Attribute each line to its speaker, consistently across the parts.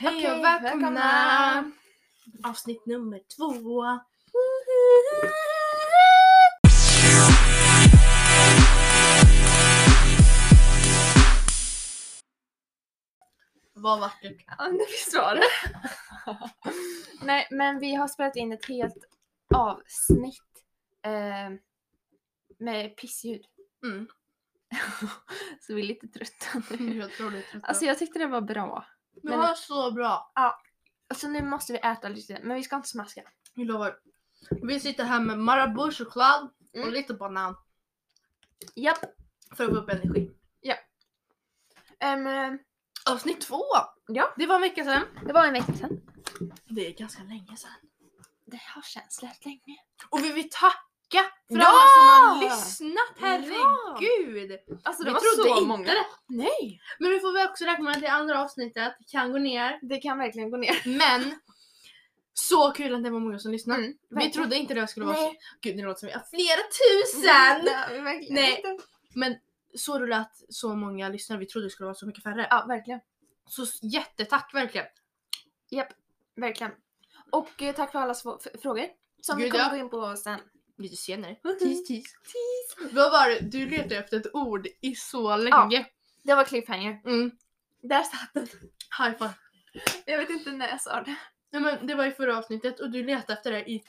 Speaker 1: Hej
Speaker 2: Okej,
Speaker 1: och välkomna!
Speaker 2: välkomna!
Speaker 1: Avsnitt nummer två. Vad vart du kan.
Speaker 2: Ja, visst var det. Nej, men vi har spelat in ett helt avsnitt eh, med pissljud.
Speaker 1: Mm.
Speaker 2: Så vi är lite trötta nu.
Speaker 1: Jag tror du är trött.
Speaker 2: Alltså jag tyckte det var bra.
Speaker 1: det var så bra.
Speaker 2: Alltså nu måste vi äta lite, men vi ska inte smaska.
Speaker 1: Jag lovar. Vi sitter här med Marabou-choklad och
Speaker 2: Mm.
Speaker 1: lite banan
Speaker 2: Japp.
Speaker 1: för att få upp energi.
Speaker 2: Ehm, eh,
Speaker 1: Avsnitt två!
Speaker 2: Ja.
Speaker 1: Det var en vecka sedan.
Speaker 2: det var en vecka sedan.
Speaker 1: Det är ganska länge sedan.
Speaker 2: Det har känts rätt länge.
Speaker 1: Och vi vill tacka för alla
Speaker 2: Ja!
Speaker 1: som har lyssnat, herregud!
Speaker 2: Alltså
Speaker 1: Vi trodde inte det.
Speaker 2: Nej!
Speaker 1: Men nu får vi också räkna med att det andra avsnittet kan gå ner.
Speaker 2: Det kan verkligen gå ner.
Speaker 1: Men! Så kul att det var många som lyssnade.
Speaker 2: Mm,
Speaker 1: vi trodde inte det skulle vara så...
Speaker 2: Nej. Mm.
Speaker 1: Gud det låter som vi har flera tusen!
Speaker 2: Nej, verkligen
Speaker 1: Nej.
Speaker 2: inte.
Speaker 1: Men så roligt att så många lyssnare, vi trodde det skulle vara så mycket färre.
Speaker 2: Ja, verkligen.
Speaker 1: Så jättetack verkligen!
Speaker 2: Verkligen. Och eh, tack för alla sv- f- frågor. Som vi
Speaker 1: Gud,
Speaker 2: kommer
Speaker 1: ja.
Speaker 2: gå in på sen.
Speaker 1: Lite senare.
Speaker 2: Tis,
Speaker 1: Vad var det? Du letade efter ett ord i så länge.
Speaker 2: Det var cliffhanger.
Speaker 1: Mm.
Speaker 2: Där satt den.
Speaker 1: High five.
Speaker 2: Jag vet inte när jag sa det.
Speaker 1: Nej, men det var i förra avsnittet och du letade efter det i,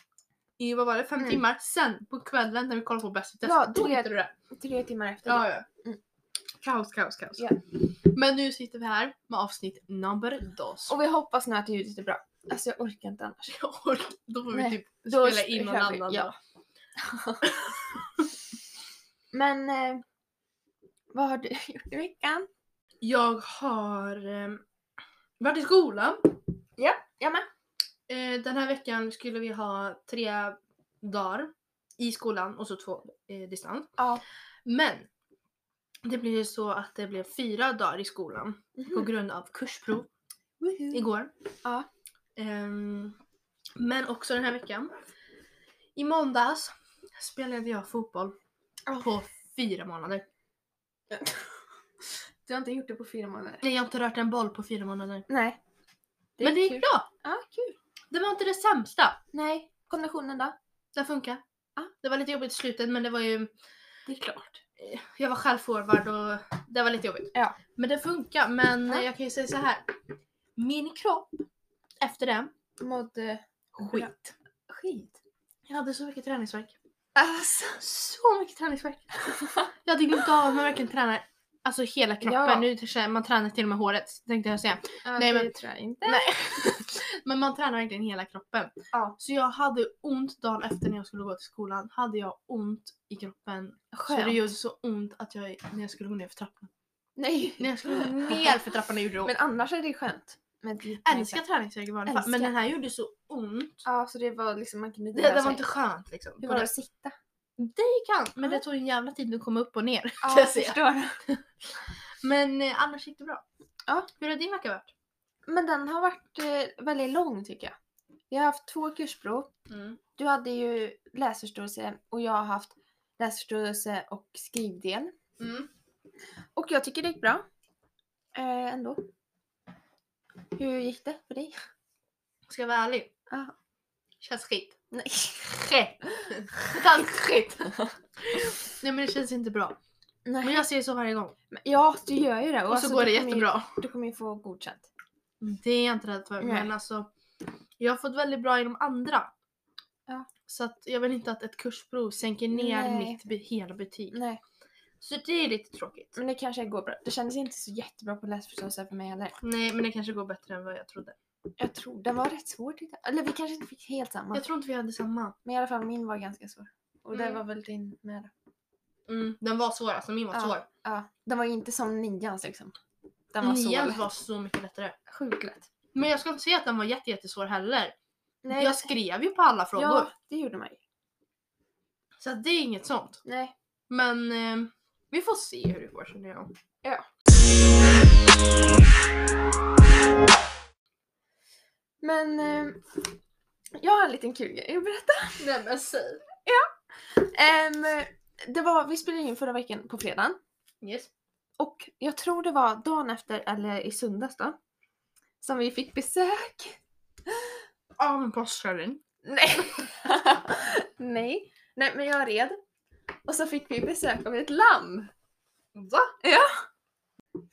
Speaker 1: i vad var det, fem
Speaker 2: Mm.
Speaker 1: timmar. Sen på kvällen när vi kollade på Bäst i test,
Speaker 2: Ja,
Speaker 1: då
Speaker 2: tre-
Speaker 1: hittade du det.
Speaker 2: Tre timmar efter.
Speaker 1: Ja, ja.
Speaker 2: Mm.
Speaker 1: Kaos, kaos, kaos.
Speaker 2: Ja.
Speaker 1: Men nu sitter vi här med avsnitt number dos.
Speaker 2: Och vi hoppas nu att ljudet är bra. Alltså jag orkar inte annars.
Speaker 1: Och då får vi
Speaker 2: Nej,
Speaker 1: typ
Speaker 2: då
Speaker 1: spela in någon
Speaker 2: kör vi,
Speaker 1: annan
Speaker 2: ja.
Speaker 1: då.
Speaker 2: Men eh, vad har du gjort i veckan?
Speaker 1: Jag har eh, varit i skolan.
Speaker 2: Jag med.
Speaker 1: Eh, den här veckan skulle vi ha tre dagar i skolan och så två eh, distans.
Speaker 2: Ja.
Speaker 1: Men det blev ju så att det blev fyra dagar i skolan. på
Speaker 2: Mhm.
Speaker 1: grund av kursprov
Speaker 2: Woho.
Speaker 1: igår.
Speaker 2: Ja.
Speaker 1: Ehm, men också den här veckan. I måndags spelade jag fotboll
Speaker 2: Åh.
Speaker 1: på fyra månader.
Speaker 2: Du har inte gjort det på fyra månader.
Speaker 1: Nej, jag har inte rört en boll på fyra månader.
Speaker 2: Nej.
Speaker 1: men det gick
Speaker 2: kul.
Speaker 1: bra!
Speaker 2: Ja, kul.
Speaker 1: Det var inte det sämsta.
Speaker 2: Nej. Konditionen då?
Speaker 1: Det funkar.
Speaker 2: Ja.
Speaker 1: Det var lite jobbigt i slutet men det var ju...
Speaker 2: Det är klart.
Speaker 1: eh, Jag var själv forward och det var lite jobbigt.
Speaker 2: Ja.
Speaker 1: Men det funkar. Men
Speaker 2: Ja.
Speaker 1: eh, jag kan ju säga så här. Min kropp efter det,
Speaker 2: Mådde...
Speaker 1: skit.
Speaker 2: Skit?
Speaker 1: Jag hade så mycket träningsvärk.
Speaker 2: Alltså.
Speaker 1: så mycket träningsvärk. Jag hade glömt av att man verkligen tränar alltså hela kroppen.
Speaker 2: Ja.
Speaker 1: Nu känner- man tränar till och med håret tänkte jag säga.
Speaker 2: Nej,
Speaker 1: det
Speaker 2: men... tror jag inte.
Speaker 1: Nej. Men man tränar verkligen hela kroppen.
Speaker 2: Ja.
Speaker 1: Så jag hade ont dagen efter när jag skulle gå till skolan. Hade jag ont i kroppen. Så det
Speaker 2: Skönt.
Speaker 1: gjorde så ont att jag, när jag skulle gå ner för trappan.
Speaker 2: Nej.
Speaker 1: När jag skulle gå ner för trappan gjorde det ont.
Speaker 2: Men annars är det skönt. Men det gick
Speaker 1: Men, Älskar
Speaker 2: inte.
Speaker 1: träningsvärk i vanliga fall. Men
Speaker 2: Älskar.
Speaker 1: den här gjorde så ont.
Speaker 2: Ja, så det var liksom man kunde
Speaker 1: Det,
Speaker 2: dela
Speaker 1: det var
Speaker 2: sig.
Speaker 1: inte skönt liksom.
Speaker 2: Hur var det att sitta?
Speaker 1: Det gick an. Men
Speaker 2: Ja.
Speaker 1: det tog en jävla tid att komma upp och ner.
Speaker 2: Ja,
Speaker 1: jag
Speaker 2: jag
Speaker 1: säga.
Speaker 2: förstår.
Speaker 1: Men eh, annars gick det bra.
Speaker 2: Ja.
Speaker 1: Hur har din vecka varit?
Speaker 2: Men den har varit eh, väldigt lång tycker jag. Jag har haft två kursprov. Du hade ju läsförståelse och jag har haft läsförståelse och skrivdel.
Speaker 1: Mm.
Speaker 2: Och jag tycker det gick bra. Eh, ändå. Hur gick det för dig?
Speaker 1: Ska jag vara ärlig?
Speaker 2: Ja.
Speaker 1: Känns skit.
Speaker 2: Nej.
Speaker 1: Skit. Känns skit. Nej men det känns inte bra. Men
Speaker 2: Nej.
Speaker 1: jag säger så varje gång.
Speaker 2: Men- Ja, du gör ju det.
Speaker 1: Och,
Speaker 2: alltså,
Speaker 1: så går det
Speaker 2: du kommer ju-
Speaker 1: jättebra.
Speaker 2: Du kommer ju få godkänt.
Speaker 1: Det är jag inte rädd för.
Speaker 2: Nej.
Speaker 1: Men alltså. Jag har fått väldigt bra i de andra.
Speaker 2: Ja.
Speaker 1: Så att jag vill inte att ett kursprov sänker ner
Speaker 2: Nej. Mm.
Speaker 1: mitt be- hela betyg.
Speaker 2: Nej.
Speaker 1: Så det är lite tråkigt.
Speaker 2: Men det kanske går bra. Det kändes inte så jättebra på läsförståelse för mig heller.
Speaker 1: Nej men det kanske går bättre än vad jag trodde.
Speaker 2: Jag tror den var rätt svår tyckte jag. Eller vi kanske inte fick helt samma.
Speaker 1: Jag tror inte vi hade samma.
Speaker 2: Men i alla fall min var ganska svår. Och det
Speaker 1: Mm.
Speaker 2: var väl din med. då?
Speaker 1: Mm, den var svår alltså, min var
Speaker 2: Ja.
Speaker 1: svår.
Speaker 2: Ja. Den var ju inte som nians liksom. Den var så
Speaker 1: Nians
Speaker 2: lätt.
Speaker 1: var så mycket lättare.
Speaker 2: Sjukt lätt.
Speaker 1: Men jag ska inte säga att den var jätte, jättesvår heller.
Speaker 2: Nej,
Speaker 1: Jag skrev ju på alla frågor.
Speaker 2: ja, det gjorde man ju.
Speaker 1: Så att det är inget sånt.
Speaker 2: Nej.
Speaker 1: Men eh, vi får se hur det går känner jag.
Speaker 2: Men eh, jag har en liten kul grej att berätta.
Speaker 1: Nej men säg.
Speaker 2: Ehm, det var, vi spelade in förra veckan på fredagen.
Speaker 1: Yes.
Speaker 2: Och jag tror det var dagen efter, eller i söndags då, som vi fick besök.
Speaker 1: Av en påskkärring.
Speaker 2: Nej. Nej. Nej, men jag red. Och så fick vi besök av ett lamm.
Speaker 1: Va?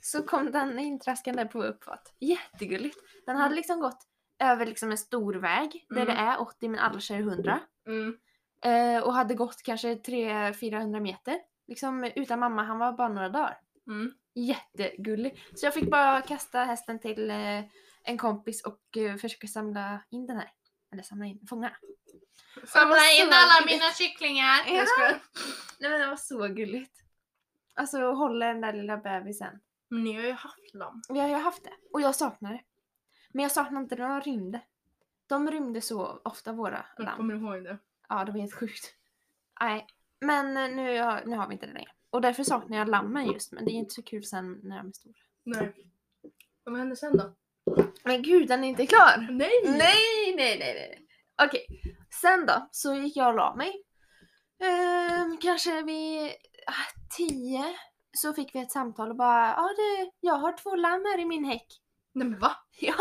Speaker 2: Så kom den intraskande på uppfatt. Jättegulligt. Den hade liksom gått över liksom en stor väg där
Speaker 1: Mm.
Speaker 2: det är 80 men alla kör 100.
Speaker 1: Mm.
Speaker 2: Eh, och hade gått kanske 300-400 meter. Liksom utan mamma, han var bara några dagar.
Speaker 1: Mm.
Speaker 2: Jättegullig. Så jag fick bara kasta hästen till eh, en kompis och eh, försöka samla in den här. Eller samla in, fånga.
Speaker 1: Samla in alla
Speaker 2: gulligt.
Speaker 1: mina kycklingar!
Speaker 2: Ja.
Speaker 1: Jag skojar.
Speaker 2: Nej men det var så gulligt. Alltså hålla den där lilla bebisen.
Speaker 1: Men ni har ju haft lamm.
Speaker 2: Vi har ju haft det. Och jag saknar det. Men jag saknar inte när de rymde. De rymde så ofta våra
Speaker 1: Jag
Speaker 2: lamm.
Speaker 1: kommer ihåg det.
Speaker 2: Ja, det var helt sjukt. Nej, men eh, nu, har- nu har vi inte det längre. Och därför saknar jag lammen just. Men det är inte så kul sen när de är stora.
Speaker 1: Nej. Vad hände sen då?
Speaker 2: Men gud, den är inte klar!
Speaker 1: Nej!
Speaker 2: Nej, nej, nej, nej. nej. Okej, sen då så gick jag och la mig. Ehm, kanske vid ah, tio så fick vi ett samtal och bara ja du, jag har två lamm här i min häck.
Speaker 1: Nej men va?
Speaker 2: Ja.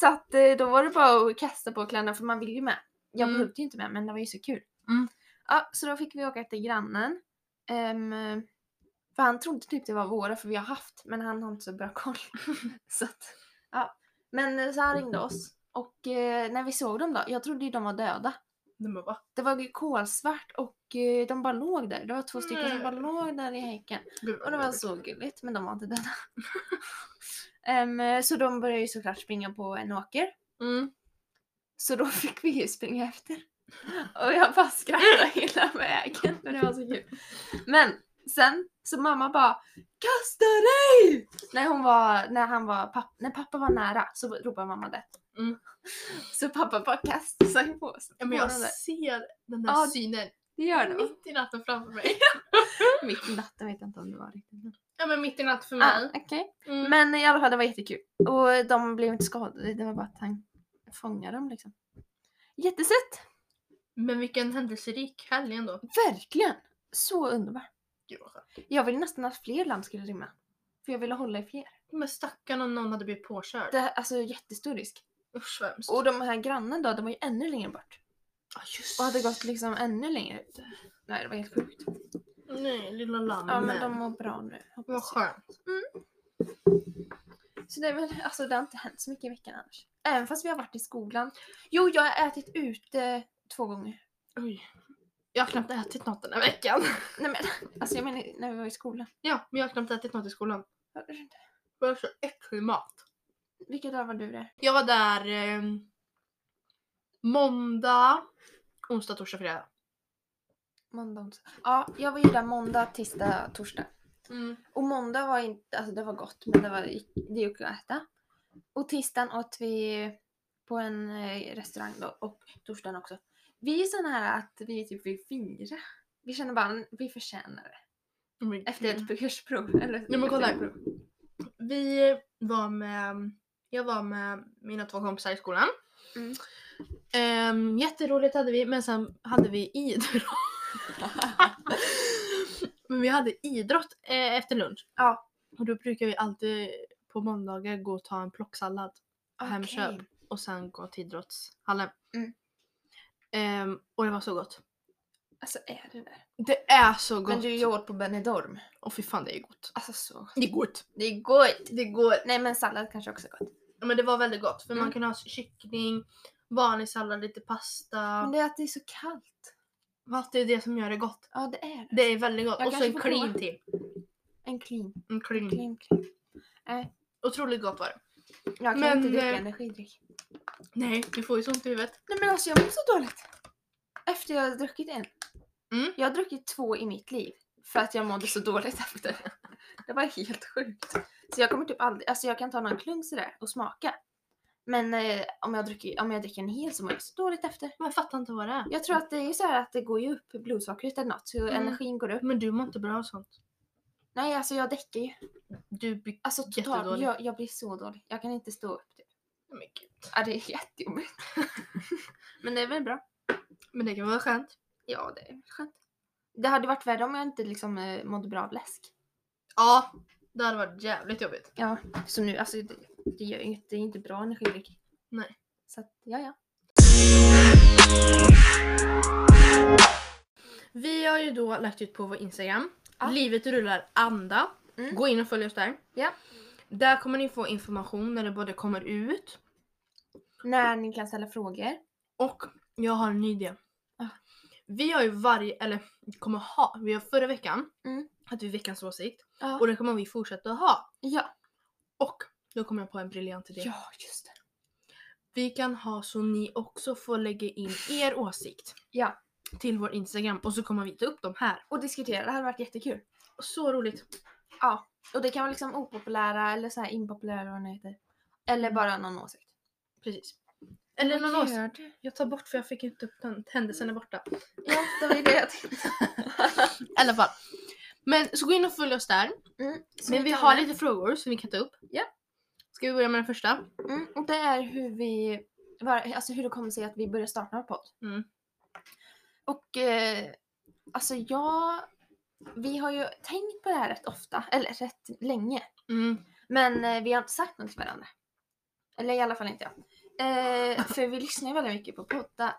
Speaker 2: Så att eh, då var det bara att kasta på kläderna för man vill ju med. Jag
Speaker 1: Mm.
Speaker 2: behövde ju inte med men det var ju så kul.
Speaker 1: Mm.
Speaker 2: Ja, så då fick vi åka till grannen. Ehm, för han trodde typ det var våra för vi har haft men han har inte så bra koll. så att, ja. Men eh, så
Speaker 1: Mm.
Speaker 2: han ringde oss och eh, när vi såg dem då, jag trodde ju de var döda.
Speaker 1: Nej men va?
Speaker 2: Det var ju kolsvart och eh, de bara låg där. Det var två stycken som
Speaker 1: Nej.
Speaker 2: bara låg där i häcken.
Speaker 1: Gud, vad
Speaker 2: Och det var
Speaker 1: jobbigt.
Speaker 2: så gulligt, men de var inte döda. Em, så de började ju såklart springa på en åker.
Speaker 1: Mm.
Speaker 2: Så då fick vi ju springa efter. Och jag bara skrattade hela vägen för det var så kul. Men sen så mamma bara Kasta dig! När, hon var, när, han var papp, när pappa var nära så ropade mamma det.
Speaker 1: Mm.
Speaker 2: Så pappa bara kastade sig på oss.
Speaker 1: Ja, men jag
Speaker 2: på den där.
Speaker 1: ser den där
Speaker 2: Ja,
Speaker 1: synen
Speaker 2: Det gör det.
Speaker 1: mitt i natten framför mig.
Speaker 2: Mitt i natten vet jag inte om det var riktigt.
Speaker 1: Ja men mitt i natten för
Speaker 2: Ah,
Speaker 1: mig.
Speaker 2: okej.
Speaker 1: Mm.
Speaker 2: Men i alla fall, det var jättekul. Och de blev inte skadade, det var bara att han fångade dem liksom. Jättesött!
Speaker 1: Men vilken händelserik helg ändå.
Speaker 2: Verkligen! Så underbar.
Speaker 1: Gud vad skönt.
Speaker 2: Jag ville nästan att fler lamm skulle rymma. För jag ville hålla i fler.
Speaker 1: Men stackarn om någon hade blivit påkörd.
Speaker 2: Det, alltså jättestor risk.
Speaker 1: Usch vad hemskt.
Speaker 2: Och de här grannen då, de var ju ännu längre bort.
Speaker 1: Ja, just.
Speaker 2: Och hade gått liksom ännu längre ut. Nej, det var helt sjukt.
Speaker 1: Nej, lilla lammen.
Speaker 2: Ja, men de mår bra nu.
Speaker 1: Vad
Speaker 2: hoppas jag.
Speaker 1: skönt.
Speaker 2: Så det, är väl, alltså, det har inte hänt så mycket i veckan annars. Även fast vi har varit i skolan. Jo, jag har ätit ute två gånger.
Speaker 1: Oj. Jag har knappt ätit något den här veckan.
Speaker 2: Nej men, alltså jag menar när vi var i skolan.
Speaker 1: Ja, men jag har knappt ätit något i skolan.
Speaker 2: Var det inte?
Speaker 1: Det var så äcklig mat.
Speaker 2: Vilka dagar var du där?
Speaker 1: Jag var där eh, måndag, onsdag, torsdag, fredag.
Speaker 2: Måndag, onsdag. Ja, jag var ju där måndag, tisdag, torsdag.
Speaker 1: Mm.
Speaker 2: Och måndag var inte, alltså det var gott men det var, det gick att äta. Och tisdagen åt vi på en eh, restaurang då och torsdagen också. Vi är sådana här att vi typ vill fira. Vi känner bara, vi förtjänar det.
Speaker 1: Mm.
Speaker 2: Efter ett kursprov. Eller,
Speaker 1: Nej, men kolla här.
Speaker 2: efter ett prov.
Speaker 1: Vi var med, jag var med mina två kompisar i skolan.
Speaker 2: Mm.
Speaker 1: Ehm, jätteroligt hade vi, men sen hade vi idrott. men vi hade idrott eh, efter lunch.
Speaker 2: Ja.
Speaker 1: Och då brukar vi alltid på måndagar gå och ta en plocksallad. Hemköp.
Speaker 2: Okej.
Speaker 1: och sen gå till idrottshallen.
Speaker 2: Mm.
Speaker 1: Ehm, och det var så gott.
Speaker 2: Alltså är det det?
Speaker 1: Det är så gott!
Speaker 2: Men du, jag åt på Benidorm.
Speaker 1: Och fy fan det är gott.
Speaker 2: Alltså så gott.
Speaker 1: Det är gott!
Speaker 2: Det är gott!
Speaker 1: Det är gott!
Speaker 2: Nej men sallad kanske också är gott.
Speaker 1: Ja, Men det var väldigt gott för
Speaker 2: Mm.
Speaker 1: man kunde ha kyckling, vanlig sallad, lite pasta.
Speaker 2: Men det är att det är så kallt.
Speaker 1: Fast det är det som gör det gott.
Speaker 2: Ja det är det.
Speaker 1: Det är väldigt gott.
Speaker 2: Jag
Speaker 1: och så
Speaker 2: kanske
Speaker 1: en
Speaker 2: får prova.
Speaker 1: clean till.
Speaker 2: En clean.
Speaker 1: En clean.
Speaker 2: clean, clean.
Speaker 1: Otroligt gott var det.
Speaker 2: Jag kan
Speaker 1: Men,
Speaker 2: inte dricka
Speaker 1: eh,
Speaker 2: energidryck.
Speaker 1: Nej, du får ju sånt i huvudet.
Speaker 2: Nej men alltså jag mår så dåligt. Efter jag har druckit en.
Speaker 1: Mm.
Speaker 2: Jag har druckit två i mitt liv. För att jag mådde så dåligt efter. Det var helt sjukt. Så jag kommer typ aldrig, alltså jag kan ta någon klunk sådär och smaka. Men eh, om, jag dricker, om jag dricker en hel så mår jag så dåligt efter.
Speaker 1: Men jag fattar inte vad det är.
Speaker 2: Jag tror att det är ju så här att det går ju upp blodsockret eller något så
Speaker 1: Mm.
Speaker 2: energin går upp.
Speaker 1: Men du mår inte bra av sånt.
Speaker 2: Nej alltså jag däckar ju.
Speaker 1: Du blir...
Speaker 2: Alltså totalt,
Speaker 1: Jättedålig.
Speaker 2: jag, jag blir så dålig. Jag kan inte stå upp. Typ.
Speaker 1: Men gud.
Speaker 2: Ja det är jättejobbigt. Men det är väl bra.
Speaker 1: Men det kan vara skönt.
Speaker 2: Ja, det är skönt. Det hade varit värre om jag inte liksom eh, mådde bra av läsk.
Speaker 1: Ja, det hade varit jävligt jobbigt.
Speaker 2: Ja, så nu, alltså det, det gör ju inget, det är inte bra energidryck.
Speaker 1: Nej.
Speaker 2: Så att, ja ja.
Speaker 1: Vi har ju då lagt ut på vår Instagram,
Speaker 2: Ja.
Speaker 1: Livet rullar anda.
Speaker 2: Mm.
Speaker 1: Gå in och följ oss där.
Speaker 2: Ja.
Speaker 1: Där kommer ni få information när det både kommer ut
Speaker 2: När ni kan ställa frågor.
Speaker 1: och jag har en ny idé.
Speaker 2: Ah.
Speaker 1: Vi har ju varje, eller kommer ha, vi har förra veckan
Speaker 2: Mm. Ah.
Speaker 1: att vi veckans åsikt
Speaker 2: Ja.
Speaker 1: och det kommer vi fortsätta ha.
Speaker 2: ja.
Speaker 1: Och då kommer jag på en briljant idé.
Speaker 2: Ja, just det.
Speaker 1: Vi kan ha så ni också får lägga in er åsikt
Speaker 2: Ja.
Speaker 1: till vår Instagram och så kommer vi ta upp dem här.
Speaker 2: Och diskutera, det hade varit jättekul.
Speaker 1: Så roligt.
Speaker 2: Ja. Och det kan vara liksom opopulära eller så här impopulära eller vad det heter. Eller bara någon åsikt.
Speaker 1: Precis. Eller någon åsikt.
Speaker 2: åsikt?
Speaker 1: Jag tar bort för jag fick inte upp den. Händelsen är borta.
Speaker 2: Ja, det var ju det jag tänkte.
Speaker 1: I alla fall. Men så gå in och följ oss där.
Speaker 2: Mm, så
Speaker 1: Men vi
Speaker 2: kan
Speaker 1: har
Speaker 2: väl-
Speaker 1: lite frågor som vi kan ta upp.
Speaker 2: Ja.
Speaker 1: Ska vi börja med den första?
Speaker 2: Mm, och det är hur vi, var, alltså hur det kommer sig att vi började starta en podd.
Speaker 1: Mm.
Speaker 2: Och eh, alltså jag, vi har ju tänkt på det här rätt ofta, eller rätt länge.
Speaker 1: Mm.
Speaker 2: Men eh, vi har inte sagt något till varandra. Eller i alla fall inte jag. Eh, för vi lyssnar ju väldigt mycket på poddar.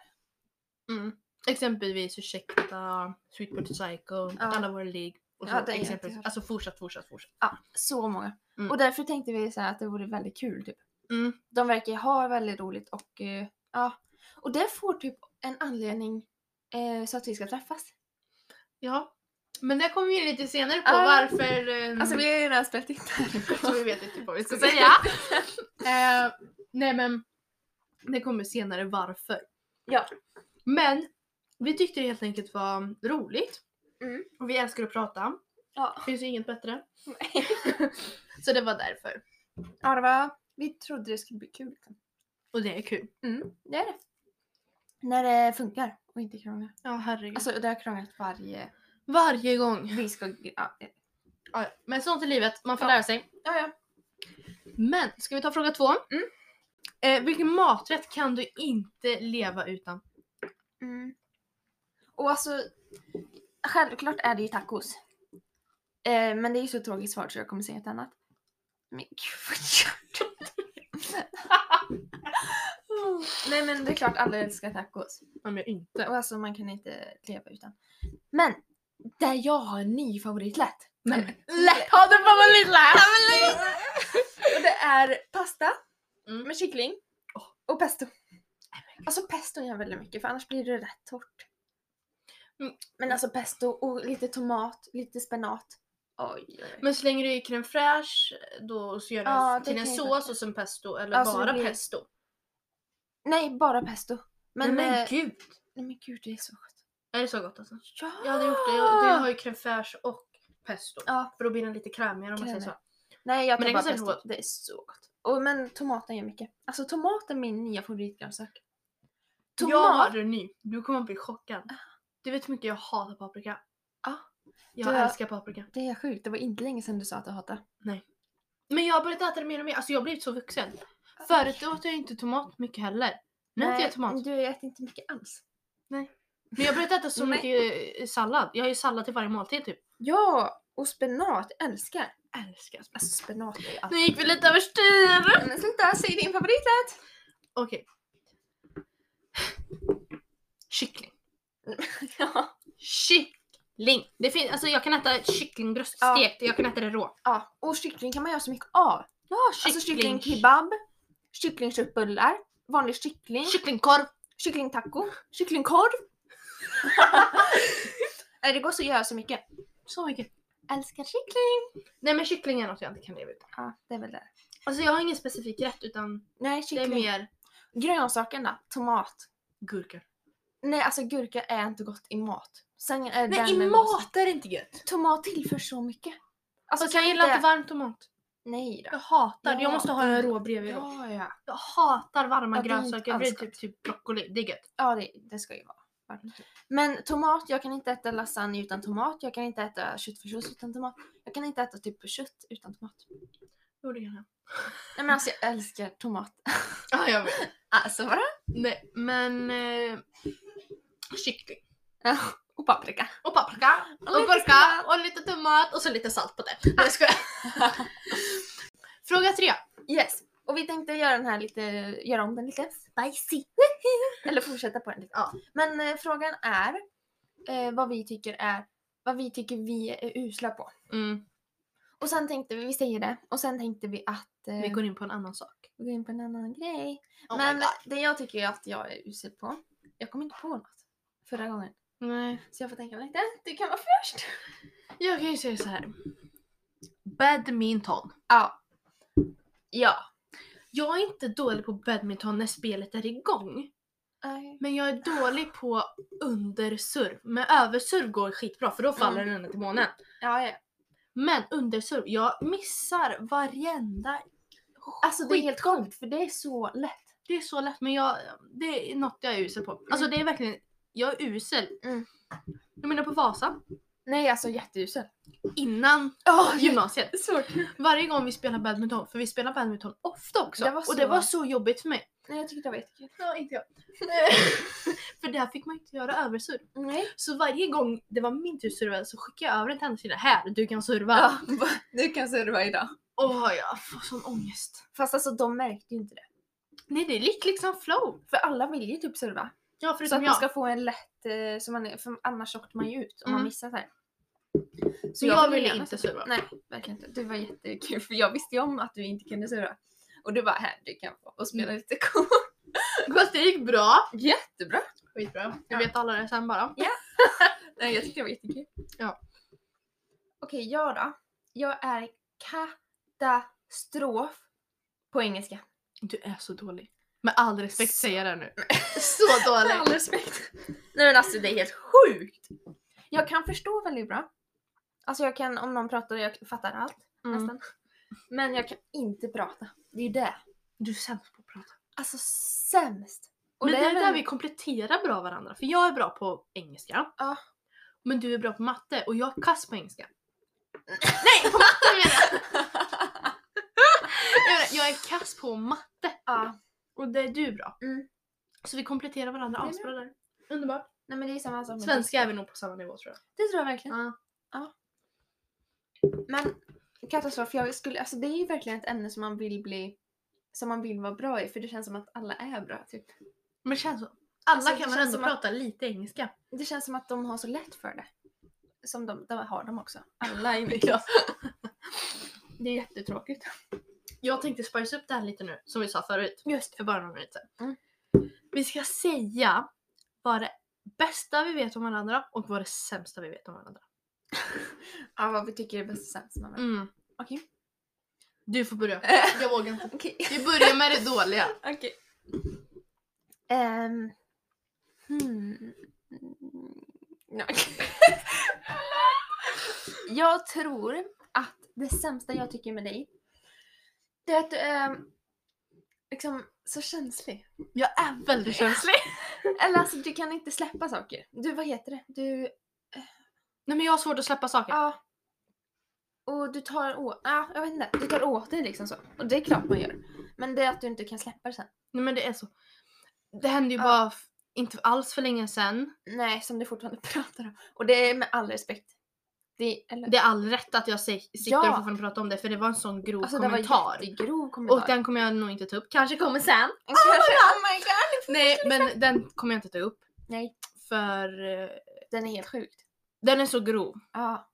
Speaker 1: Mm. Exempelvis Ursäkta, Sweetport Psycho, Alla våra ligg. Och så
Speaker 2: Ja, det är
Speaker 1: exempelvis.
Speaker 2: jättehögt.
Speaker 1: Alltså fortsatt, fortsatt, fortsatt.
Speaker 2: Ja, så många.
Speaker 1: Mm.
Speaker 2: Och därför tänkte vi så här att det vore väldigt kul. Typ.
Speaker 1: Mm.
Speaker 2: De verkar ju ha väldigt roligt och eh, ja. Och det får typ en anledning eh, så att vi ska träffas.
Speaker 1: Ja. Men det kommer vi in lite senare på
Speaker 2: Ja.
Speaker 1: varför... eh,
Speaker 2: Alltså vi har ju redan spelat in det
Speaker 1: Så vi
Speaker 2: här.
Speaker 1: vet inte vad vi ska
Speaker 2: Så vi-
Speaker 1: säga. eh, nej men, det kommer senare varför.
Speaker 2: Ja.
Speaker 1: Men vi tyckte det helt enkelt var roligt.
Speaker 2: Mm.
Speaker 1: Och vi älskar att prata.
Speaker 2: ja.
Speaker 1: Finns ju inget bättre. Så det var därför.
Speaker 2: ja, det var, vi trodde det skulle bli kul. liksom.
Speaker 1: Och det är kul.
Speaker 2: Mm, det är det. När det funkar och inte krånglar.
Speaker 1: Ja herregud.
Speaker 2: Alltså det har krånglat varje...
Speaker 1: varje gång.
Speaker 2: Vi ska... Ja, ja.
Speaker 1: Ja, ja. Men sånt är livet, man får
Speaker 2: Ja.
Speaker 1: lära sig.
Speaker 2: ja.
Speaker 1: Men ska vi ta fråga två?
Speaker 2: Mm.
Speaker 1: Eh, vilken maträtt kan du inte leva utan?
Speaker 2: Mm. Och alltså, självklart är det ju tacos. Eh, men det är ju så tråkigt svar så jag kommer säga ett annat. Men gud vad gör du? Nej men det är klart alla älskar tacos.
Speaker 1: Om jag inte.
Speaker 2: Och alltså man kan inte leva utan. Men! Där jag har en ny favoritlätt.
Speaker 1: Nej,
Speaker 2: Lätt! Har du favoritlätt? Och det är pasta
Speaker 1: Mm.
Speaker 2: med kyckling och pesto. Alltså pesto gör jag väldigt mycket för annars blir det rätt torrt.
Speaker 1: Mm.
Speaker 2: Men alltså pesto och lite tomat, lite spenat. Oj, oj, oj.
Speaker 1: Men slänger du i crème fraîche då och så gör du
Speaker 2: Ja,
Speaker 1: en-
Speaker 2: det
Speaker 1: till en
Speaker 2: kan jag
Speaker 1: sås och sen pesto eller
Speaker 2: Ja, så det
Speaker 1: bara
Speaker 2: blir-
Speaker 1: pesto?
Speaker 2: Nej, bara pesto. Men,
Speaker 1: Nej, men
Speaker 2: eh,
Speaker 1: gud!
Speaker 2: nej men gud, det är så gott.
Speaker 1: Är det så gott alltså?
Speaker 2: Ja!
Speaker 1: Jag hade gjort det, jag, det har ju crème fraîche och pesto.
Speaker 2: Ah. Ja.
Speaker 1: För då blir den lite krämigare om man säger så.
Speaker 2: Krämigare. Nej, jag
Speaker 1: Men
Speaker 2: tar
Speaker 1: det
Speaker 2: bara
Speaker 1: kanske är
Speaker 2: pesto.
Speaker 1: gott.
Speaker 2: Det är så gott. Och, men tomaten gör mycket. Alltså tomat är min nya favoritgrönsak. Tomat? Ah.
Speaker 1: Jag har en ny, du kommer bli chockad. Du vet hur mycket jag hatar paprika.
Speaker 2: Ja.
Speaker 1: Jag
Speaker 2: Ah. Du-
Speaker 1: älskar paprika.
Speaker 2: Det är sjukt, det var inte länge sedan du sa att du hatade.
Speaker 1: Men jag har börjat äta det mer och mer, alltså jag har blivit så vuxen. Förut åt jag inte tomat mycket heller. Nu äter jag tomat.
Speaker 2: Du äter Ah, inte mycket alls.
Speaker 1: Men jag har börjat äta så
Speaker 2: Nej.
Speaker 1: mycket eh, sallad. Jag har ju sallad till varje måltid typ.
Speaker 2: Ja, och spenat. Älskar.
Speaker 1: Älskar sallad.
Speaker 2: Alltså spenat är ju allt.
Speaker 1: Nu gick vi lite överstyr!
Speaker 2: Men sluta, säg din favoriträtt!
Speaker 1: Okej. Kyckling.
Speaker 2: ja.
Speaker 1: Kyckling! Det finns, alltså jag kan äta kycklingbröst
Speaker 2: Ja.
Speaker 1: stekt, jag kan äta det rå.
Speaker 2: ja, och kyckling kan man göra så mycket av.
Speaker 1: Ja,
Speaker 2: Alltså kycklingkebab, kycklingköttbullar, vanlig kyckling,
Speaker 1: Kycklingkorv.
Speaker 2: kycklingtaco, kycklingkorv. Nej, det går så att göra så mycket.
Speaker 1: Så mycket.
Speaker 2: Älskar kyckling!
Speaker 1: Nej men kyckling är något jag inte kan leva utan.
Speaker 2: Ja, det är väl det.
Speaker 1: Alltså jag har ingen specifik rätt utan
Speaker 2: Nej,
Speaker 1: det är
Speaker 2: kyckling.
Speaker 1: mer
Speaker 2: Grönsaken då? Tomat.
Speaker 1: gurkor.
Speaker 2: Nej, alltså gurka är inte gott i mat. Sen
Speaker 1: Nej
Speaker 2: är den
Speaker 1: i
Speaker 2: med
Speaker 1: mat är det inte gött.
Speaker 2: Tomat tillför så mycket. Alltså,
Speaker 1: Fast jag gillar inte varm tomat.
Speaker 2: Nej då.
Speaker 1: Jag hatar det. Jag
Speaker 2: Ja.
Speaker 1: måste ha en rå bredvid då.
Speaker 2: Ja, ja.
Speaker 1: Jag hatar varma
Speaker 2: Ja, det är inte
Speaker 1: grönsaker. Det är
Speaker 2: alls
Speaker 1: typ, typ broccoli. Det är gött.
Speaker 2: Ja, det, det ska ju vara. varmt. Men tomat, jag kan inte äta lasagne utan tomat. Jag kan inte äta köttfärssås utan tomat. Jag kan inte äta typ kött utan tomat.
Speaker 1: Jo det kan jag.
Speaker 2: Nej men alltså jag älskar tomat.
Speaker 1: Ja jag vet.
Speaker 2: Alltså vadå?
Speaker 1: Nej men... Eh, kyckling.
Speaker 2: Ja. Och paprika.
Speaker 1: Och paprika.
Speaker 2: Och
Speaker 1: Och
Speaker 2: lite
Speaker 1: gurka.
Speaker 2: salt.
Speaker 1: Och lite tomat. Och så lite salt på det. Nej jag skojar. Fråga tre.
Speaker 2: Yes. Och vi tänkte göra den här lite, göra om den lite.
Speaker 1: Spicy.
Speaker 2: Eller fortsätta på den lite.
Speaker 1: Ja.
Speaker 2: Men eh, frågan är eh, vad vi tycker är, vad vi tycker vi är usla på.
Speaker 1: Mm,
Speaker 2: Och sen tänkte vi, vi säger det, och sen tänkte vi att eh,
Speaker 1: vi går in på en annan sak.
Speaker 2: vi går in på en annan grej.
Speaker 1: Oh my
Speaker 2: Men
Speaker 1: god.
Speaker 2: det jag tycker är att jag är usel på, jag kom inte på något förra gången.
Speaker 1: Nej.
Speaker 2: Så jag får tänka lite, du kan vara först.
Speaker 1: Jag kan ju säga så här. Badminton.
Speaker 2: Ja. Ja.
Speaker 1: Jag är inte dålig på badminton när spelet är igång.
Speaker 2: Nej.
Speaker 1: Men jag är dålig på underserv. Men överserv går skitbra för då faller den ända till månen.
Speaker 2: Ja, ja.
Speaker 1: Men underserv, jag missar varenda
Speaker 2: Alltså det är helt sjukt för det är så lätt.
Speaker 1: Det är så lätt men jag, det är något jag är usel på. Alltså det är verkligen, jag är usel.
Speaker 2: Mm.
Speaker 1: Jag menar på Vasa,
Speaker 2: Nej, alltså jätteusel.
Speaker 1: innan
Speaker 2: Ja,
Speaker 1: gymnasiet.
Speaker 2: så kul.
Speaker 1: Varje gång vi spelar badminton, för vi spelar badminton ofta också.
Speaker 2: Det var
Speaker 1: Och det
Speaker 2: så-
Speaker 1: var så jobbigt för mig.
Speaker 2: Nej, jag tyckte det var jättekul.
Speaker 1: Ja, inte jag. för där fick man inte göra översurv.
Speaker 2: Nej.
Speaker 1: Så varje gång det var min tur att surva så skickade jag över den till hennes sida. Här, du kan surva.
Speaker 2: Ja, du kan serva idag.
Speaker 1: Åh, jag får sån ångest.
Speaker 2: Fast alltså de märkte ju inte det.
Speaker 1: Nej, det är lite liksom flow.
Speaker 2: För alla vill ju typ serva.
Speaker 1: Ja,
Speaker 2: Så
Speaker 1: förutom
Speaker 2: att man
Speaker 1: jag.
Speaker 2: ska få en lätt, eh, så man, är- för annars åkte man ju ut om man
Speaker 1: Mm.
Speaker 2: missar så här.
Speaker 1: Så jag ville
Speaker 2: gärna
Speaker 1: inte
Speaker 2: serva.
Speaker 1: surva.
Speaker 2: Nej, verkligen inte. Det var jättekul för jag visste ju om att du inte kunde serva. Och du bara här, du kan få och
Speaker 1: Mm.
Speaker 2: spela lite kort.
Speaker 1: Fast det gick bra.
Speaker 2: Jättebra!
Speaker 1: Skitbra.
Speaker 2: Ja.
Speaker 1: Jag vet alla det sen bara.
Speaker 2: Nej, jag tyckte det var jättekul.
Speaker 1: Ja.
Speaker 2: Okej, jag då. Jag är katastrof på engelska.
Speaker 1: Du är så dålig. Med all respekt säger jag det nu. Så
Speaker 2: Med all
Speaker 1: dålig.
Speaker 2: respekt. Nej men alltså det är helt sjukt! Jag kan förstå väldigt bra. Alltså jag kan, om någon pratar, jag fattar allt
Speaker 1: Mm.
Speaker 2: nästan. Men jag kan inte prata. Det är ju det.
Speaker 1: Du är sämst på att prata.
Speaker 2: Alltså sämst! Och
Speaker 1: men det är där
Speaker 2: väl-
Speaker 1: vi kompletterar bra varandra. För jag är bra på engelska.
Speaker 2: Ja.
Speaker 1: Men du är bra på matte och jag är kass på engelska. Nej, på matte menar jag! Jag menar, Jag är kass på matte
Speaker 2: Ja.
Speaker 1: och det är du bra.
Speaker 2: Mm.
Speaker 1: Så vi kompletterar varandra
Speaker 2: Nej,
Speaker 1: asbra där. Underbart.
Speaker 2: Nej men det är samma sak med
Speaker 1: Svenska är vi nog på samma nivå tror jag.
Speaker 2: Det tror jag verkligen.
Speaker 1: Ja.
Speaker 2: Men katastrof, jag skulle, alltså det är ju verkligen ett ämne som man vill bli som man vill vara bra i för det känns som att alla är bra. Typ.
Speaker 1: Men det känns så. Alla
Speaker 2: Alltså, det
Speaker 1: kan väl
Speaker 2: känns
Speaker 1: ändå
Speaker 2: som att-
Speaker 1: prata lite engelska.
Speaker 2: Det känns som att de har så lätt för det. Som de, de har de också. Alla i min
Speaker 1: Ja.
Speaker 2: klass. Det är jättetråkigt.
Speaker 1: Jag tänkte spice upp det här lite nu som vi sa förut.
Speaker 2: Just
Speaker 1: för bara några minuter sedan.
Speaker 2: Mm.
Speaker 1: Vi ska säga vad det bästa vi vet om varandra och vad det sämsta vi vet om varandra.
Speaker 2: Ja, vad vi tycker är bäst och sämst. med varandra.
Speaker 1: Mm.
Speaker 2: Okej. Eh.
Speaker 1: Du får börja. Jag vågar inte.
Speaker 2: Okej.
Speaker 1: Vi börjar med det dåliga.
Speaker 2: Okej. Ehm, hmm. Ja, okej. jag tror att det sämsta jag tycker med dig, det är att du är liksom så känslig.
Speaker 1: Jag är väldigt känslig.
Speaker 2: Eller alltså du kan inte släppa saker. Du, vad heter det? Du,
Speaker 1: Nej men jag har svårt att släppa saker.
Speaker 2: ja. Och du tar åt, ja jag vet inte, du tar åt dig liksom så. Och det är klart man gör. Men det är att du inte kan släppa det sen.
Speaker 1: Nej men det är så. Det hände ju
Speaker 2: Ja.
Speaker 1: bara f- inte alls för länge sedan.
Speaker 2: Nej, som du fortfarande pratar om. Och det är med all respekt. Det, eller,
Speaker 1: Det är all rätt att jag se- sitter
Speaker 2: Ja.
Speaker 1: och fortfarande pratar om det för det var en sån grov
Speaker 2: alltså det var
Speaker 1: kommentar.
Speaker 2: en jättegrov kommentar.
Speaker 1: och den kommer jag nog inte ta upp. Kanske kommer sen.
Speaker 2: Kanske, oh my god!
Speaker 1: Nej men den kommer jag inte ta upp.
Speaker 2: Nej,
Speaker 1: För eh,
Speaker 2: den är helt sjukt.
Speaker 1: den är så grov.
Speaker 2: Ja.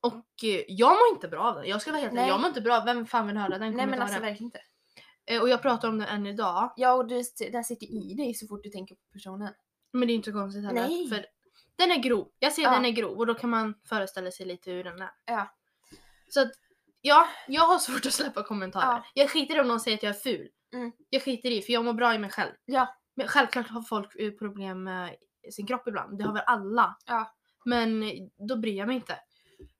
Speaker 1: Och eh, jag mår inte bra av den. Jag ska vara helt ärlig,
Speaker 2: Nej.
Speaker 1: jag mår inte bra av Vem fan vill höra den
Speaker 2: Nej men
Speaker 1: kommentaren?
Speaker 2: alltså verkligen inte.
Speaker 1: Eh, och jag pratar om den än idag.
Speaker 2: Ja och du, den sitter i dig så fort du tänker på personen.
Speaker 1: Men det är inte så konstigt heller.
Speaker 2: Nej.
Speaker 1: För den är grov. Jag ser
Speaker 2: Ja.
Speaker 1: den är grov och då kan man föreställa sig lite hur den är.
Speaker 2: Ja.
Speaker 1: Så att, ja, jag har svårt att släppa kommentarer.
Speaker 2: Ja.
Speaker 1: Jag skiter i om någon säger att jag är ful.
Speaker 2: Mm.
Speaker 1: Jag skiter i för jag mår bra i mig själv.
Speaker 2: Ja.
Speaker 1: Men självklart har folk eh, problem med sin kropp ibland. Det har väl alla.
Speaker 2: Ja.
Speaker 1: Men eh, då bryr jag mig inte.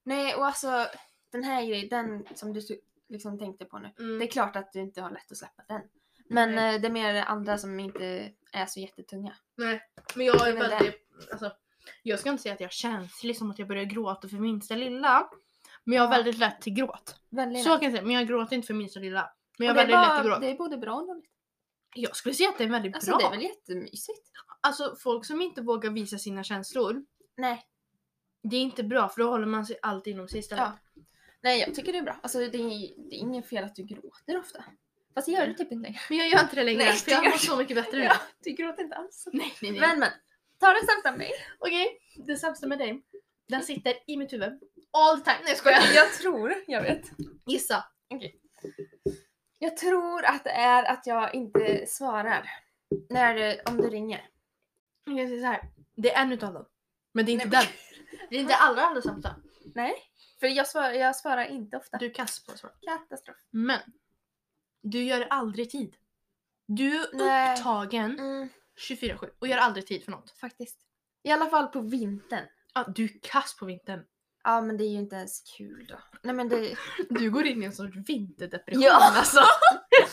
Speaker 2: Nej och alltså den här grejen, den som du så- liksom tänkte på nu. Det är klart att du inte har lätt att släppa den. Men
Speaker 1: Nej.
Speaker 2: eh, det är mer andra som inte är så jättetunga.
Speaker 1: Nej, men jag är
Speaker 2: Men det-
Speaker 1: väldigt... Alltså, jag ska inte säga att jag är känslig som att jag börjar gråta för minsta lilla. Men jag har
Speaker 2: Ja.
Speaker 1: väldigt lätt till gråt.
Speaker 2: Väldigt
Speaker 1: Så kan jag säga, men jag gråter inte för minsta lilla. Men jag
Speaker 2: Och
Speaker 1: är
Speaker 2: det,
Speaker 1: väldigt lätt
Speaker 2: är
Speaker 1: till
Speaker 2: bara,
Speaker 1: gråt.
Speaker 2: det är både bra och dåligt.
Speaker 1: Jag skulle säga att det är väldigt
Speaker 2: Alltså
Speaker 1: bra.
Speaker 2: det är väl jättemysigt?
Speaker 1: Alltså folk som inte vågar visa sina känslor
Speaker 2: Nej.
Speaker 1: Det är inte bra för då håller man sig alltid inom sig istället.
Speaker 2: Ja. Nej, jag tycker det är bra. Alltså, det är, det är inget fel att du gråter ofta. Fast jag gör det typ inte längre.
Speaker 1: Men jag gör inte det längre
Speaker 2: Nej,
Speaker 1: för
Speaker 2: det
Speaker 1: jag
Speaker 2: gör
Speaker 1: mår så mycket bättre nu.
Speaker 2: Ja, du gråter inte alls.
Speaker 1: Nej, nej, nej.
Speaker 2: Men men, ta det sämsta med mig.
Speaker 1: Okej, det sämsta med dig. Den sitter i mitt huvud. All the time. Nej jag skojar.
Speaker 2: Jag tror, jag vet.
Speaker 1: Gissa.
Speaker 2: Jag tror att det är att jag inte svarar. När, det- om du ringer.
Speaker 1: Jag kan säga så här. Det är en utav dem. Men det är inte
Speaker 2: Nej,
Speaker 1: den. Det är inte allra allra sämsta.
Speaker 2: För jag svarar, jag svarar inte ofta.
Speaker 1: Du är kass på svar.
Speaker 2: Katastrof.
Speaker 1: Men. Du gör aldrig tid. Du är
Speaker 2: Nej.
Speaker 1: upptagen
Speaker 2: Mm,
Speaker 1: 24-7 och gör aldrig tid för något.
Speaker 2: faktiskt. I alla fall på vintern.
Speaker 1: Ja, du är kass på vintern.
Speaker 2: Ja men det är ju inte ens kul då. Nej men det...
Speaker 1: Du går in i en sorts vinterdepression
Speaker 2: Ja.
Speaker 1: alltså.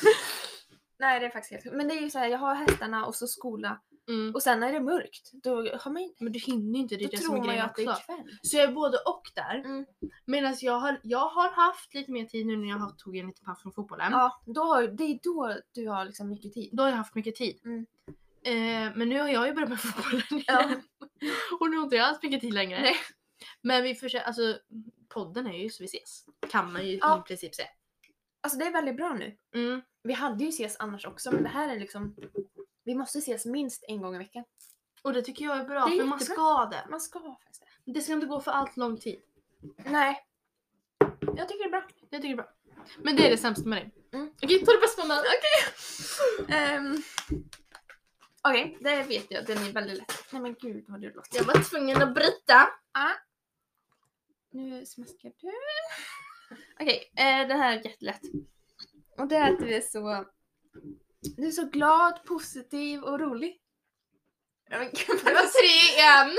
Speaker 2: Nej det är faktiskt helt kul. Men det är ju så här, jag har hästarna och så skola.
Speaker 1: Mm.
Speaker 2: Och sen när det är mörkt, då, har man,
Speaker 1: Men du hinner ju inte, det
Speaker 2: då
Speaker 1: är det som är
Speaker 2: tror man ju
Speaker 1: grejen
Speaker 2: att det
Speaker 1: också.
Speaker 2: är kväll.
Speaker 1: Så jag är både och där.
Speaker 2: Mm.
Speaker 1: Medan jag har, jag har haft lite mer tid nu när jag har tog en liten paus från fotbollen.
Speaker 2: Ja, då har, det är då du har liksom mycket tid.
Speaker 1: Då har jag haft mycket tid.
Speaker 2: Mm.
Speaker 1: Eh, men nu har jag ju börjat med fotbollen
Speaker 2: Ja.
Speaker 1: igen. Och nu har inte jag alls mycket tid längre.
Speaker 2: Nej.
Speaker 1: Men vi försöker, alltså podden är ju så vi ses. Kan man ju
Speaker 2: Ja.
Speaker 1: i princip säga.
Speaker 2: Alltså det är väldigt bra nu.
Speaker 1: Mm.
Speaker 2: Vi hade ju ses annars också men det här är liksom... Vi måste ses minst en gång i veckan.
Speaker 1: Och det tycker jag är bra
Speaker 2: Det är
Speaker 1: för man
Speaker 2: jättebra.
Speaker 1: ska det.
Speaker 2: Man ska ha faktiskt det.
Speaker 1: Det ska inte gå för allt lång tid.
Speaker 2: Nej. Jag tycker det är bra.
Speaker 1: Det tycker jag är bra. Men det är det sämsta med dig.
Speaker 2: Mm.
Speaker 1: Okej, ta det bästa med mig.
Speaker 2: Ehm, Okej, det vet jag. Den är väldigt lätt. Nej men gud vad du låter.
Speaker 1: Jag var tvungen att bryta.
Speaker 2: Nu smaskar du. Okej, eh, det här är jättelätt. Och det är att du är så... Du är så glad, positiv och rolig. Ja, men gud,
Speaker 1: Det
Speaker 2: vad-
Speaker 1: var tre igen.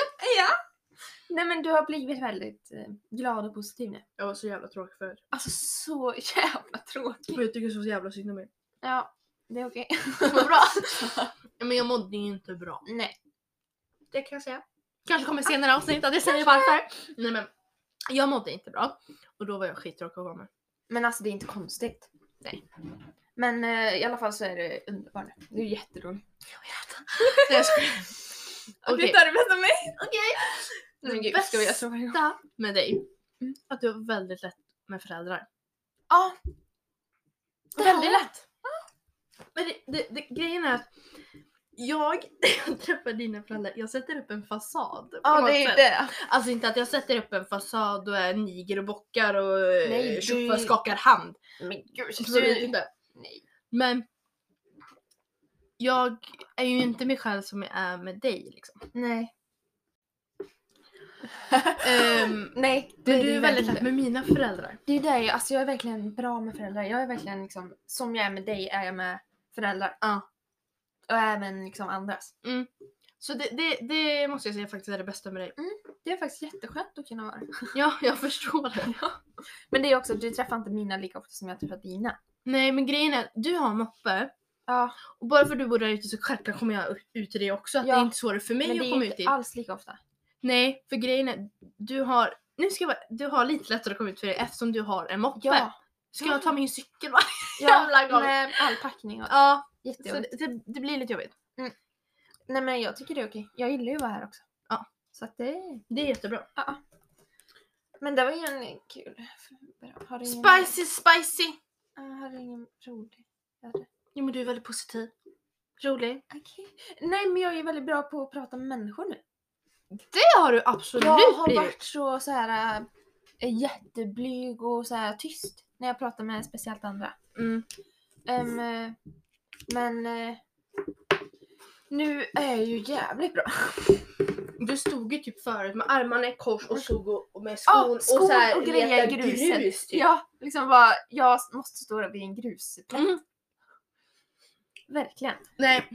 Speaker 2: Nej men du har blivit väldigt eh, glad och positiv nu.
Speaker 1: Jag var så jävla tråkig förut.
Speaker 2: Alltså så jävla tråkig.
Speaker 1: Men jag tycker så jävla synd om er.
Speaker 2: Ja, det är okej.
Speaker 1: Vad bra. Men jag mådde ju inte bra.
Speaker 2: Nej.
Speaker 1: Det kan jag säga. Kanske kommer senare avsnitt att jag säger varför. Nej men. Jag mådde inte bra. Och då var jag skittråkig att vara med.
Speaker 2: Men alltså det är inte konstigt.
Speaker 1: Nej.
Speaker 2: Men eh, i alla fall så är det underbart nu. Du är jätterolig.
Speaker 1: Nej, jag skojar. Okej.
Speaker 2: tar det bästa med mig. Nej men gud,
Speaker 1: Det
Speaker 2: ska vi göra så varje gång?
Speaker 1: bästa med dig.
Speaker 2: Mm.
Speaker 1: Att du har väldigt lätt med föräldrar.
Speaker 2: Ja, Det här-
Speaker 1: väldigt lätt. Men det, det, det, grejen är att jag, jag träffar dina föräldrar, jag sätter upp en fasad. på
Speaker 2: ja
Speaker 1: något
Speaker 2: det
Speaker 1: sätt.
Speaker 2: är det.
Speaker 1: Alltså inte att jag sätter upp en fasad och är niger och bockar och
Speaker 2: Nej,
Speaker 1: Nej,
Speaker 2: du-
Speaker 1: tjoffar skakar hand.
Speaker 2: Men gud,
Speaker 1: Absolut inte.
Speaker 2: Nej.
Speaker 1: Men jag är ju inte mig själv som jag är med dig. Liksom.
Speaker 2: Nej.
Speaker 1: Ehm,
Speaker 2: Nej.
Speaker 1: men
Speaker 2: det
Speaker 1: du är väldigt lätt
Speaker 2: verkligen-
Speaker 1: med mina föräldrar.
Speaker 2: Det är det, jag- alltså jag är verkligen bra med föräldrar. Jag är verkligen liksom, som jag är med dig är jag med föräldrar.
Speaker 1: Ja.
Speaker 2: Och även liksom andras.
Speaker 1: Så det, det, det måste jag säga faktiskt är det bästa med dig.
Speaker 2: Det är faktiskt jätteskönt att kunna vara.
Speaker 1: Ja, jag förstår det.
Speaker 2: Men det är också, du träffar inte mina lika ofta som jag träffar dina.
Speaker 1: Nej men grejen är, du har moppe
Speaker 2: Ja,
Speaker 1: och bara för att du bor där ute så självklart kommer jag ut till dig också. Att
Speaker 2: Ja.
Speaker 1: Det är inte svårare för mig
Speaker 2: men det
Speaker 1: att
Speaker 2: är
Speaker 1: komma
Speaker 2: ju
Speaker 1: ut
Speaker 2: inte
Speaker 1: dit.
Speaker 2: alls lika ofta.
Speaker 1: Nej, för grejen är, du har, nu ska jag vara, du har lite lättare att komma ut för dig eftersom du har en moppe.
Speaker 2: Ja,
Speaker 1: Ska jag ta min cykel varje jävla
Speaker 2: ja
Speaker 1: gång?
Speaker 2: med all packning och
Speaker 1: Ja, så
Speaker 2: jättejobbigt.
Speaker 1: det, det, det blir lite jobbigt.
Speaker 2: Nej men jag tycker det är okej. Jag gillar ju att vara här också.
Speaker 1: Ja.
Speaker 2: Så att det...
Speaker 1: Det är jättebra.
Speaker 2: Men det var ju en kul... Har du
Speaker 1: Mm.
Speaker 2: ingen...
Speaker 1: Spicy, spicy!
Speaker 2: Ja, har du ingen rolig? Ja, det-
Speaker 1: Jo men du är väldigt positiv. Rolig.
Speaker 2: Okej. Nej men jag är väldigt bra på att prata med människor nu.
Speaker 1: Det har du absolut
Speaker 2: Jag har
Speaker 1: blivit.
Speaker 2: varit så, så här äh, jätteblyg och så här tyst när jag pratar med speciellt andra.
Speaker 1: Mm.
Speaker 2: Ehm, eh, men eh, nu är jag ju jävligt bra.
Speaker 1: Du stod ju typ förut med armarna i kors och stod och, och med Mm. skon, och, så här, letade grus typ.
Speaker 2: Ja, liksom bara, jag måste stå vid en grusplätt.
Speaker 1: Mm.
Speaker 2: Verkligen.
Speaker 1: Nej.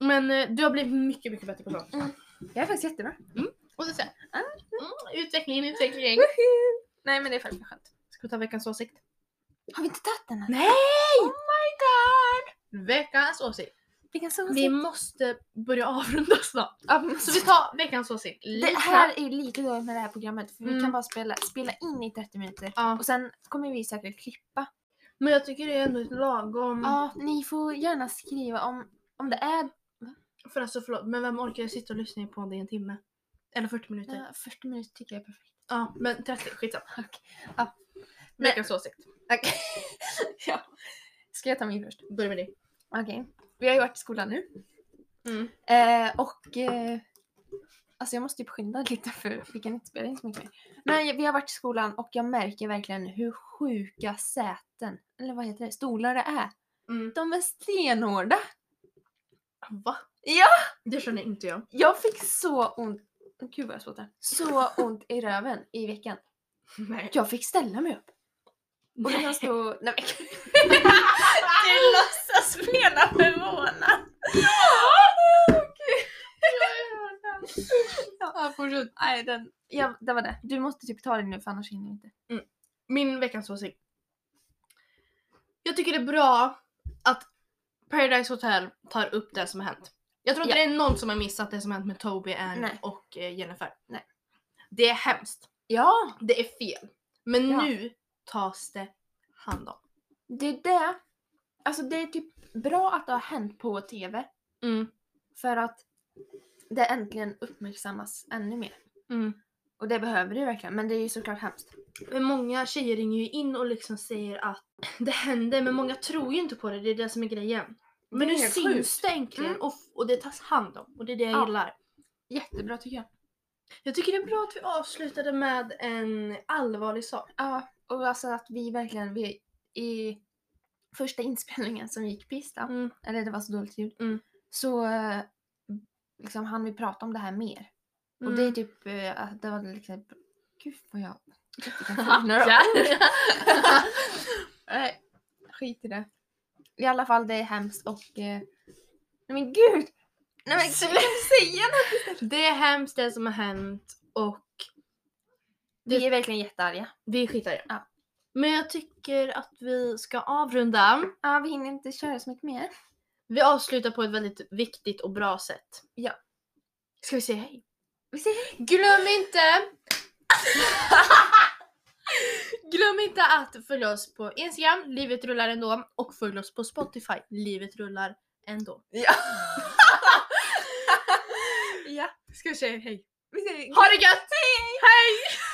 Speaker 1: Men eh, du har blivit mycket, mycket bättre på sånt.
Speaker 2: Jag är faktiskt jättebra.
Speaker 1: Mm. Och så, så här. Mm, utveckling, utveckling.
Speaker 2: Nej men det är faktiskt skönt.
Speaker 1: Ska vi ta veckans åsikt?
Speaker 2: Har vi inte tagit den än?
Speaker 1: Nej!
Speaker 2: Oh my god!
Speaker 1: Veckans åsikt.
Speaker 2: Vilken sån
Speaker 1: Vi måste börja avrunda snart. Så vi tar veckans åsikt lite
Speaker 2: Det här är ju lite dåligt med det här programmet för vi
Speaker 1: Mm.
Speaker 2: kan bara spela, spela in i 30 minuter
Speaker 1: Ja.
Speaker 2: och sen kommer vi säkert klippa.
Speaker 1: Men jag tycker det är ändå ett lagom...
Speaker 2: Ja, ni får gärna skriva om, om det är...
Speaker 1: För alltså förlåt, men vem orkar sitta och lyssna på det i en timme? Eller 40 minuter. Ja,
Speaker 2: Ja, 40 minuter tycker jag är perfekt.
Speaker 1: men 30, skitsamma.
Speaker 2: Okej. Ja. Men-
Speaker 1: Veckans åsikt.
Speaker 2: Okej. ja. Ska jag ta min först?
Speaker 1: Börja med dig.
Speaker 2: Okej. Vi har ju varit i skolan nu.
Speaker 1: Mm.
Speaker 2: Eh, och... Eh, alltså jag måste ju skynda lite för vi kan inte spela in så mycket mer. Men vi har varit i skolan och jag märker verkligen hur sjuka säten, eller vad heter det, stolar det är.
Speaker 1: Mm.
Speaker 2: De är stenhårda.
Speaker 1: Va?
Speaker 2: Ja!
Speaker 1: Det känner inte jag.
Speaker 2: Jag fick så ont, gud vad jag spottar. Så ont i röven i veckan.
Speaker 1: Nej.
Speaker 2: Jag fick ställa mig upp. Och då kan
Speaker 1: Nej.
Speaker 2: jag stå... Nej men Du låtsas spela förvånad.
Speaker 1: Ja, fortsätt.
Speaker 2: Nej, den... Ja, det var det. Du måste typ ta den nu för annars hinner vi inte.
Speaker 1: Min veckans åsikt. Jag tycker det är bra att Paradise Hotel tar upp det som har hänt. Jag tror inte det är någon som har missat det som har hänt med Toby, Ann
Speaker 2: Nej.
Speaker 1: och eh, Jennifer.
Speaker 2: Nej.
Speaker 1: Det är hemskt.
Speaker 2: Ja!
Speaker 1: Det är fel. Men
Speaker 2: Ja.
Speaker 1: nu tas det hand om.
Speaker 2: Det är det. Alltså det är typ bra att det har hänt på TV.
Speaker 1: Mm.
Speaker 2: För att det äntligen uppmärksammas ännu mer. Och det behöver det ju verkligen. Men det är ju såklart hemskt.
Speaker 1: Men många tjejer ringer ju in och liksom säger att det händer men många tror ju inte på det, det är det som är grejen. Men
Speaker 2: Det
Speaker 1: nu
Speaker 2: är helt
Speaker 1: syns det äntligen
Speaker 2: Mm.
Speaker 1: och, f- och det tas hand om och det är det jag
Speaker 2: Ja.
Speaker 1: gillar.
Speaker 2: Jättebra tycker jag.
Speaker 1: Jag tycker det är bra att vi avslutade med en allvarlig sak.
Speaker 2: Ja, och alltså att vi verkligen vi, i första inspelningen som gick på Ista,
Speaker 1: Mm.
Speaker 2: eller det var så dåligt ljud,
Speaker 1: Mm.
Speaker 2: så eh, liksom hann vi prata om det här mer. Och
Speaker 1: Mm.
Speaker 2: det är typ, eh, att det var liksom, gud vad jag inte kan finna
Speaker 1: Ja.
Speaker 2: ord. Nej, skit i det. I alla fall, det är hemskt och... Eh, nej men gud! Nej men sluta säga något!
Speaker 1: Det är hemskt det som har hänt och
Speaker 2: Vi är verkligen jättearga.
Speaker 1: vi skitar i det.
Speaker 2: Ja.
Speaker 1: Men jag tycker att vi ska avrunda.
Speaker 2: Ja, vi hinner inte köra så mycket mer.
Speaker 1: Vi avslutar på ett väldigt viktigt och bra sätt.
Speaker 2: Ja.
Speaker 1: Ska vi säga hej?
Speaker 2: Vi säger hej!
Speaker 1: Glöm inte... Glöm inte att följa oss på Instagram, livet rullar ändå, och följ oss på Spotify, livet rullar ändå.
Speaker 2: Ja! ja,
Speaker 1: Ska vi säga hej?
Speaker 2: vi säger
Speaker 1: Ha det gött! Hej!